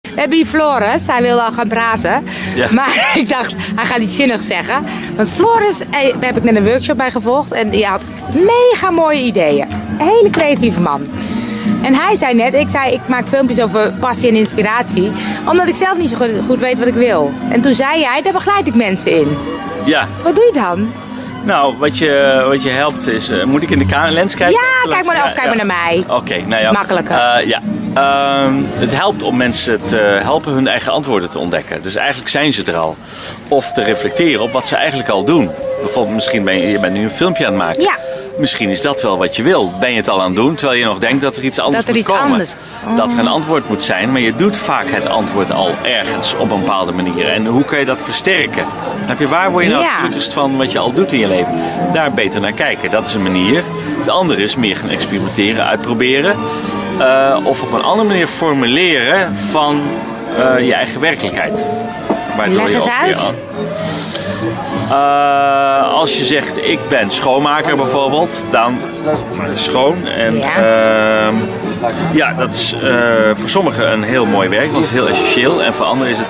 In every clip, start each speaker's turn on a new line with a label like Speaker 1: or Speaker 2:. Speaker 1: We hebben hier Floris, hij wil al gaan praten.
Speaker 2: Ja.
Speaker 1: Maar ik dacht, hij gaat iets zinnigs zeggen. Want Floris, eh, daar heb ik net een workshop bij gevolgd. En die had mega mooie ideeën. Een hele creatieve man. En hij zei net, ik zei, ik maak filmpjes over passie en inspiratie. Omdat ik zelf niet zo goed, goed weet wat ik wil. En toen zei jij, daar begeleid ik mensen in.
Speaker 2: Ja,
Speaker 1: Wat doe je dan?
Speaker 2: nou, wat je, wat je helpt is... eh, moet ik in de ka- lens kijken?
Speaker 1: Ja, kijk maar- of kijk maar naar mij.
Speaker 2: Oké, nou ja.
Speaker 1: Makkelijker.
Speaker 2: Eh, ja. Ehm, het helpt om mensen te helpen hun eigen antwoorden te ontdekken. Dus eigenlijk zijn ze er al. Of te reflecteren op wat ze eigenlijk al doen. Bijvoorbeeld, misschien ben je, je bent nu een filmpje aan het maken.
Speaker 1: Ja.
Speaker 2: Misschien is dat wel wat je wil. Ben je het al aan het doen, terwijl je nog denkt dat er iets anders
Speaker 1: Dat er
Speaker 2: moet
Speaker 1: iets
Speaker 2: komen.
Speaker 1: anders-
Speaker 2: Dat er een antwoord moet zijn, maar je doet vaak het antwoord al ergens op een bepaalde manier. En hoe kan je dat versterken? Heb je waar word je nou
Speaker 1: Ja.
Speaker 2: het gelukkigst van wat je al doet in je leven? Daar beter naar kijken, dat is een manier. Het andere is meer gaan experimenteren, uitproberen. Eh, of op een andere manier formuleren van eh, je eigen werkelijkheid. Waardoor
Speaker 1: Leg
Speaker 2: je
Speaker 1: eens
Speaker 2: ook weer
Speaker 1: uit.
Speaker 2: aan- eh, als je zegt ik ben schoonmaker bijvoorbeeld, dan schoon. En,
Speaker 1: Ja.
Speaker 2: ehm, ja, dat is eh, voor sommigen een heel mooi werk, want het is heel essentieel. En voor anderen is het.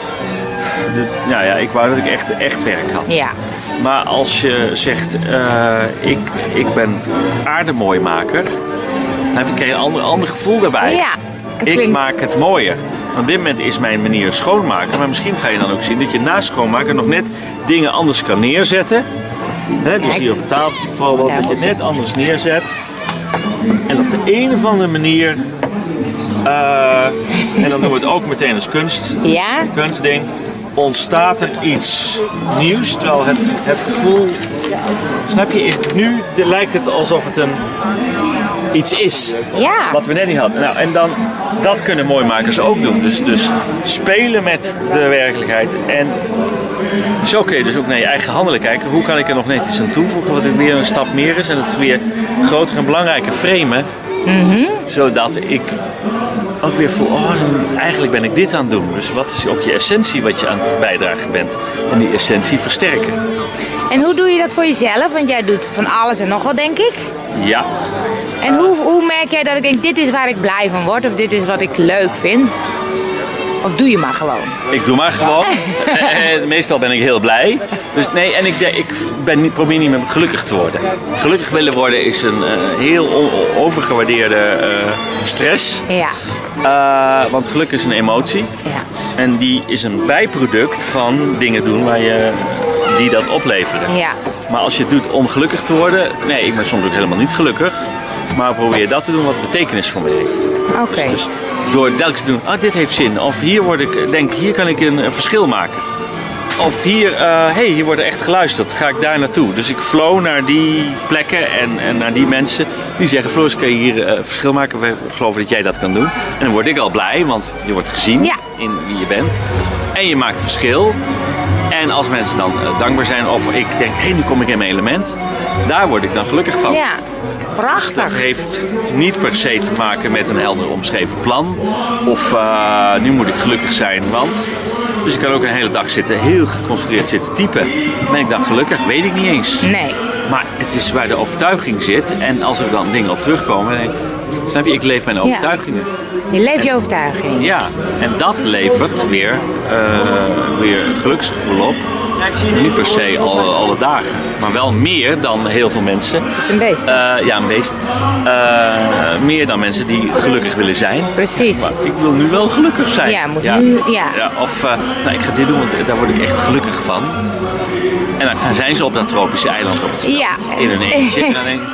Speaker 2: dit- nou ja, ik wou dat ik echt, echt werk had.
Speaker 1: Ja.
Speaker 2: Maar als je zegt eh, ik, ik ben aardemooimaker, dan heb ik een ander, ander gevoel daarbij.
Speaker 1: Ja, dat
Speaker 2: ik
Speaker 1: klinkt-
Speaker 2: maak het mooier. Want Op dit moment is mijn manier schoonmaken, maar misschien ga je dan ook zien dat je na schoonmaken nog net dingen anders kan neerzetten. Hè, dus
Speaker 1: Kijk.
Speaker 2: hier op tafel bijvoorbeeld,
Speaker 1: Ja,
Speaker 2: dat je het
Speaker 1: goed.
Speaker 2: net anders neerzet. En op de een of andere manier, eh, en dan doen we het ook meteen als kunst,
Speaker 1: Ja?
Speaker 2: kunstding, ontstaat er iets nieuws. Terwijl het, het gevoel, snap je, is nu de- lijkt het alsof het een, iets is.
Speaker 1: Ja.
Speaker 2: Wat we net niet hadden. Nou, en dan, dat kunnen mooimakers ook doen. Dus, dus spelen met de werkelijkheid. En zo kun je dus ook naar je eigen handelen kijken. Hoe kan ik er nog net iets aan toevoegen wat er weer een stap meer is. En het weer groter en belangrijker framen. Zodat ik ook weer voel, oh, dan- eigenlijk ben ik dit aan het doen. Dus wat is ook je essentie wat je aan het bijdragen bent. En die essentie versterken.
Speaker 1: En hoe doe je dat voor jezelf? Want jij doet van alles en nog wat, denk ik.
Speaker 2: Ja, Ah.
Speaker 1: En hoe, hoe merk jij dat ik denk, dit is waar ik blij van word? Of dit is wat ik leuk vind? Of doe je maar gewoon?
Speaker 2: Ik doe maar gewoon. Eh, eh, Meestal ben ik heel blij. Dus nee, en ik, de- ik ben niet, probeer niet meer gelukkig te worden. Gelukkig willen worden is een eh, heel on- overgewaardeerde eh, stress.
Speaker 1: Ja.
Speaker 2: Eh, want geluk is een emotie.
Speaker 1: Ja.
Speaker 2: En die is een bijproduct van dingen doen waar je, die dat opleveren.
Speaker 1: Ja.
Speaker 2: Maar als je het doet om gelukkig te worden... Nee, ik ben soms ook helemaal niet gelukkig. Maar probeer dat te doen wat betekenis voor me heeft.
Speaker 1: Oké.
Speaker 2: Dus, dus door telkens te doen, ah, dit heeft zin. Of hier word ik, denk, hier kan ik een, eh, verschil maken. Of hier, eh, hey, hier wordt echt geluisterd. Ga ik daar naartoe? Dus ik flow naar die plekken en, en naar die mensen die zeggen: Floris, kan je hier eh, verschil maken? We geloven dat jij dat kan doen. En dan word ik al blij, want je wordt gezien
Speaker 1: Ja.
Speaker 2: in wie je bent. En je maakt verschil. En als mensen dan eh, dankbaar zijn, of ik denk: hé, hey, nu kom ik in mijn element. Daar word ik dan gelukkig van.
Speaker 1: ja.
Speaker 2: Dat
Speaker 1: Prachtig.
Speaker 2: heeft niet per se te maken met een helder omschreven plan. Of eh, nu moet ik gelukkig zijn, want. Dus ik kan ook een hele dag zitten, heel geconcentreerd zitten typen. Ben ik dan gelukkig? Weet ik niet eens.
Speaker 1: Nee.
Speaker 2: Maar het is waar de overtuiging zit. En als er dan dingen op terugkomen, dan denk ik, snap je, ik leef mijn overtuigingen.
Speaker 1: Je leeft je overtuiging.
Speaker 2: Ja, en dat levert weer, eh, weer een geluksgevoel op. Niet per se alle, alle dagen, maar wel meer dan heel veel mensen.
Speaker 1: Een beest.
Speaker 2: Eh, ja, een beest. Eh, meer dan mensen die gelukkig willen zijn.
Speaker 1: Precies.
Speaker 2: Maar ik wil nu wel gelukkig zijn.
Speaker 1: Ja, moet nu- ja.
Speaker 2: of eh, nou, ik ga dit doen, want daar word ik echt gelukkig van. En dan zijn ze op dat tropische eiland op het strand.
Speaker 1: Ja.
Speaker 2: In een eentje. En dan denk ik,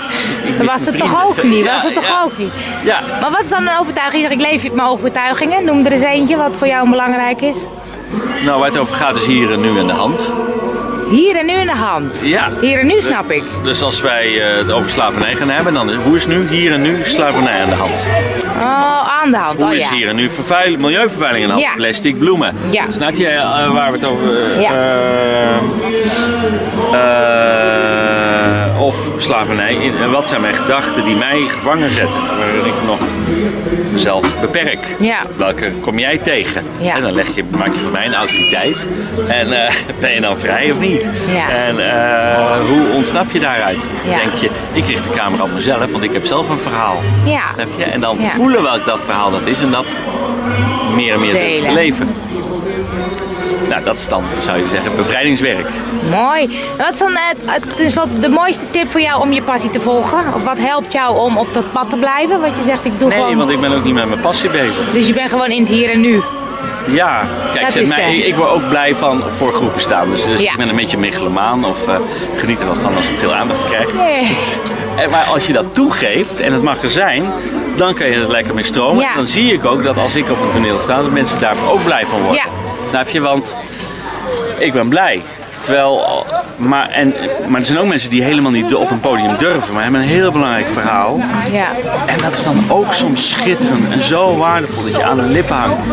Speaker 2: ik mis
Speaker 1: Dat was
Speaker 2: mijn
Speaker 1: het toch ook
Speaker 2: vrienden.
Speaker 1: niet? Was
Speaker 2: Ja,
Speaker 1: het toch
Speaker 2: ja.
Speaker 1: ook niet?
Speaker 2: Ja,
Speaker 1: Maar wat is dan een overtuiging? Je zegt, Ik leef met mijn overtuigingen. Noem er eens eentje wat voor jou belangrijk is.
Speaker 2: nou waar het over gaat is hier en nu in de hand.
Speaker 1: Hier en nu in de hand.
Speaker 2: Ja.
Speaker 1: Hier en nu snap ik.
Speaker 2: Dus als wij eh, het over slavernij gaan hebben, dan is- hoe is nu hier en nu slavernij aan de hand?
Speaker 1: Oh, aan de hand.
Speaker 2: Hoe
Speaker 1: Oh
Speaker 2: is
Speaker 1: ja.
Speaker 2: hier en nu vervuil, milieuvervuiling aan de hand?
Speaker 1: Ja.
Speaker 2: Plastic, bloemen.
Speaker 1: Ja.
Speaker 2: Snap je eh, waar we het over... eh,
Speaker 1: Ja.
Speaker 2: eh, eh, of slavernij. In- en wat zijn mijn gedachten die mij gevangen zetten? Waarin ik nog mezelf beperk.
Speaker 1: Ja.
Speaker 2: Welke kom jij tegen?
Speaker 1: Ja.
Speaker 2: En dan leg je, maak je van mij een autoriteit. En eh, ben je dan vrij of niet?
Speaker 1: Ja.
Speaker 2: En eh, hoe ontsnap je daaruit?
Speaker 1: Ja.
Speaker 2: Denk je, Ik richt de camera op mezelf, want ik heb zelf een verhaal.
Speaker 1: Ja.
Speaker 2: Snap je? En dan
Speaker 1: Ja.
Speaker 2: voelen welk dat verhaal dat is en dat meer en meer durven
Speaker 1: Delen.
Speaker 2: te leven. Nou, dat is dan, zou je zeggen, bevrijdingswerk.
Speaker 1: Mooi. Wat is dan eh, het, dus wat de mooiste tip voor jou om je passie te volgen? Of wat helpt jou om op dat pad te blijven? Wat je zegt, ik doe
Speaker 2: Nee,
Speaker 1: gewoon...
Speaker 2: want ik ben ook niet met mijn passie bezig.
Speaker 1: Dus je bent gewoon in het hier en nu.
Speaker 2: Ja, kijk,
Speaker 1: Dat
Speaker 2: zet
Speaker 1: is
Speaker 2: mij-
Speaker 1: het.
Speaker 2: ik, ik word ook blij van voor groepen staan. Dus, dus
Speaker 1: Ja.
Speaker 2: ik ben een beetje megalomaan of eh, geniet er wat van als ik veel aandacht krijg.
Speaker 1: Nee.
Speaker 2: En, maar als je dat toegeeft, en het mag er zijn, dan kan je er lekker mee stromen.
Speaker 1: Ja.
Speaker 2: En Dan zie ik ook dat als ik op een toneel sta, dat mensen daar ook blij van worden.
Speaker 1: Ja.
Speaker 2: Snap je? Want ik ben blij. Terwijl, maar, en, maar er zijn ook mensen die helemaal niet op een podium durven, maar hebben een heel belangrijk verhaal.
Speaker 1: Ja.
Speaker 2: En dat is dan ook soms schitterend en zo waardevol dat je aan hun lippen hangt.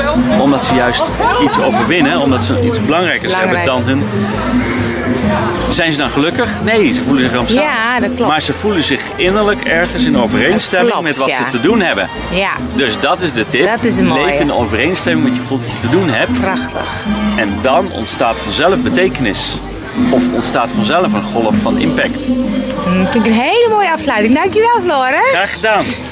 Speaker 2: Omdat ze juist iets overwinnen, omdat ze iets belangrijkers hebben dan
Speaker 1: Belangrijk.
Speaker 2: hun. Zijn ze dan gelukkig? Nee, ze voelen zich rampzalig.
Speaker 1: Ja, dat klopt.
Speaker 2: Maar ze voelen zich innerlijk ergens in overeenstemming
Speaker 1: Dat klopt,
Speaker 2: met wat
Speaker 1: ja.
Speaker 2: ze te doen hebben.
Speaker 1: Ja.
Speaker 2: Dus dat is de tip.
Speaker 1: Dat is een mooie.
Speaker 2: Leef in overeenstemming met je voelt dat je te doen hebt.
Speaker 1: Prachtig.
Speaker 2: En dan ontstaat vanzelf betekenis. Of ontstaat vanzelf een golf van impact.
Speaker 1: Mm, Hm, vind ik een hele mooie afsluiting. Dankjewel, Floris.
Speaker 2: Graag gedaan.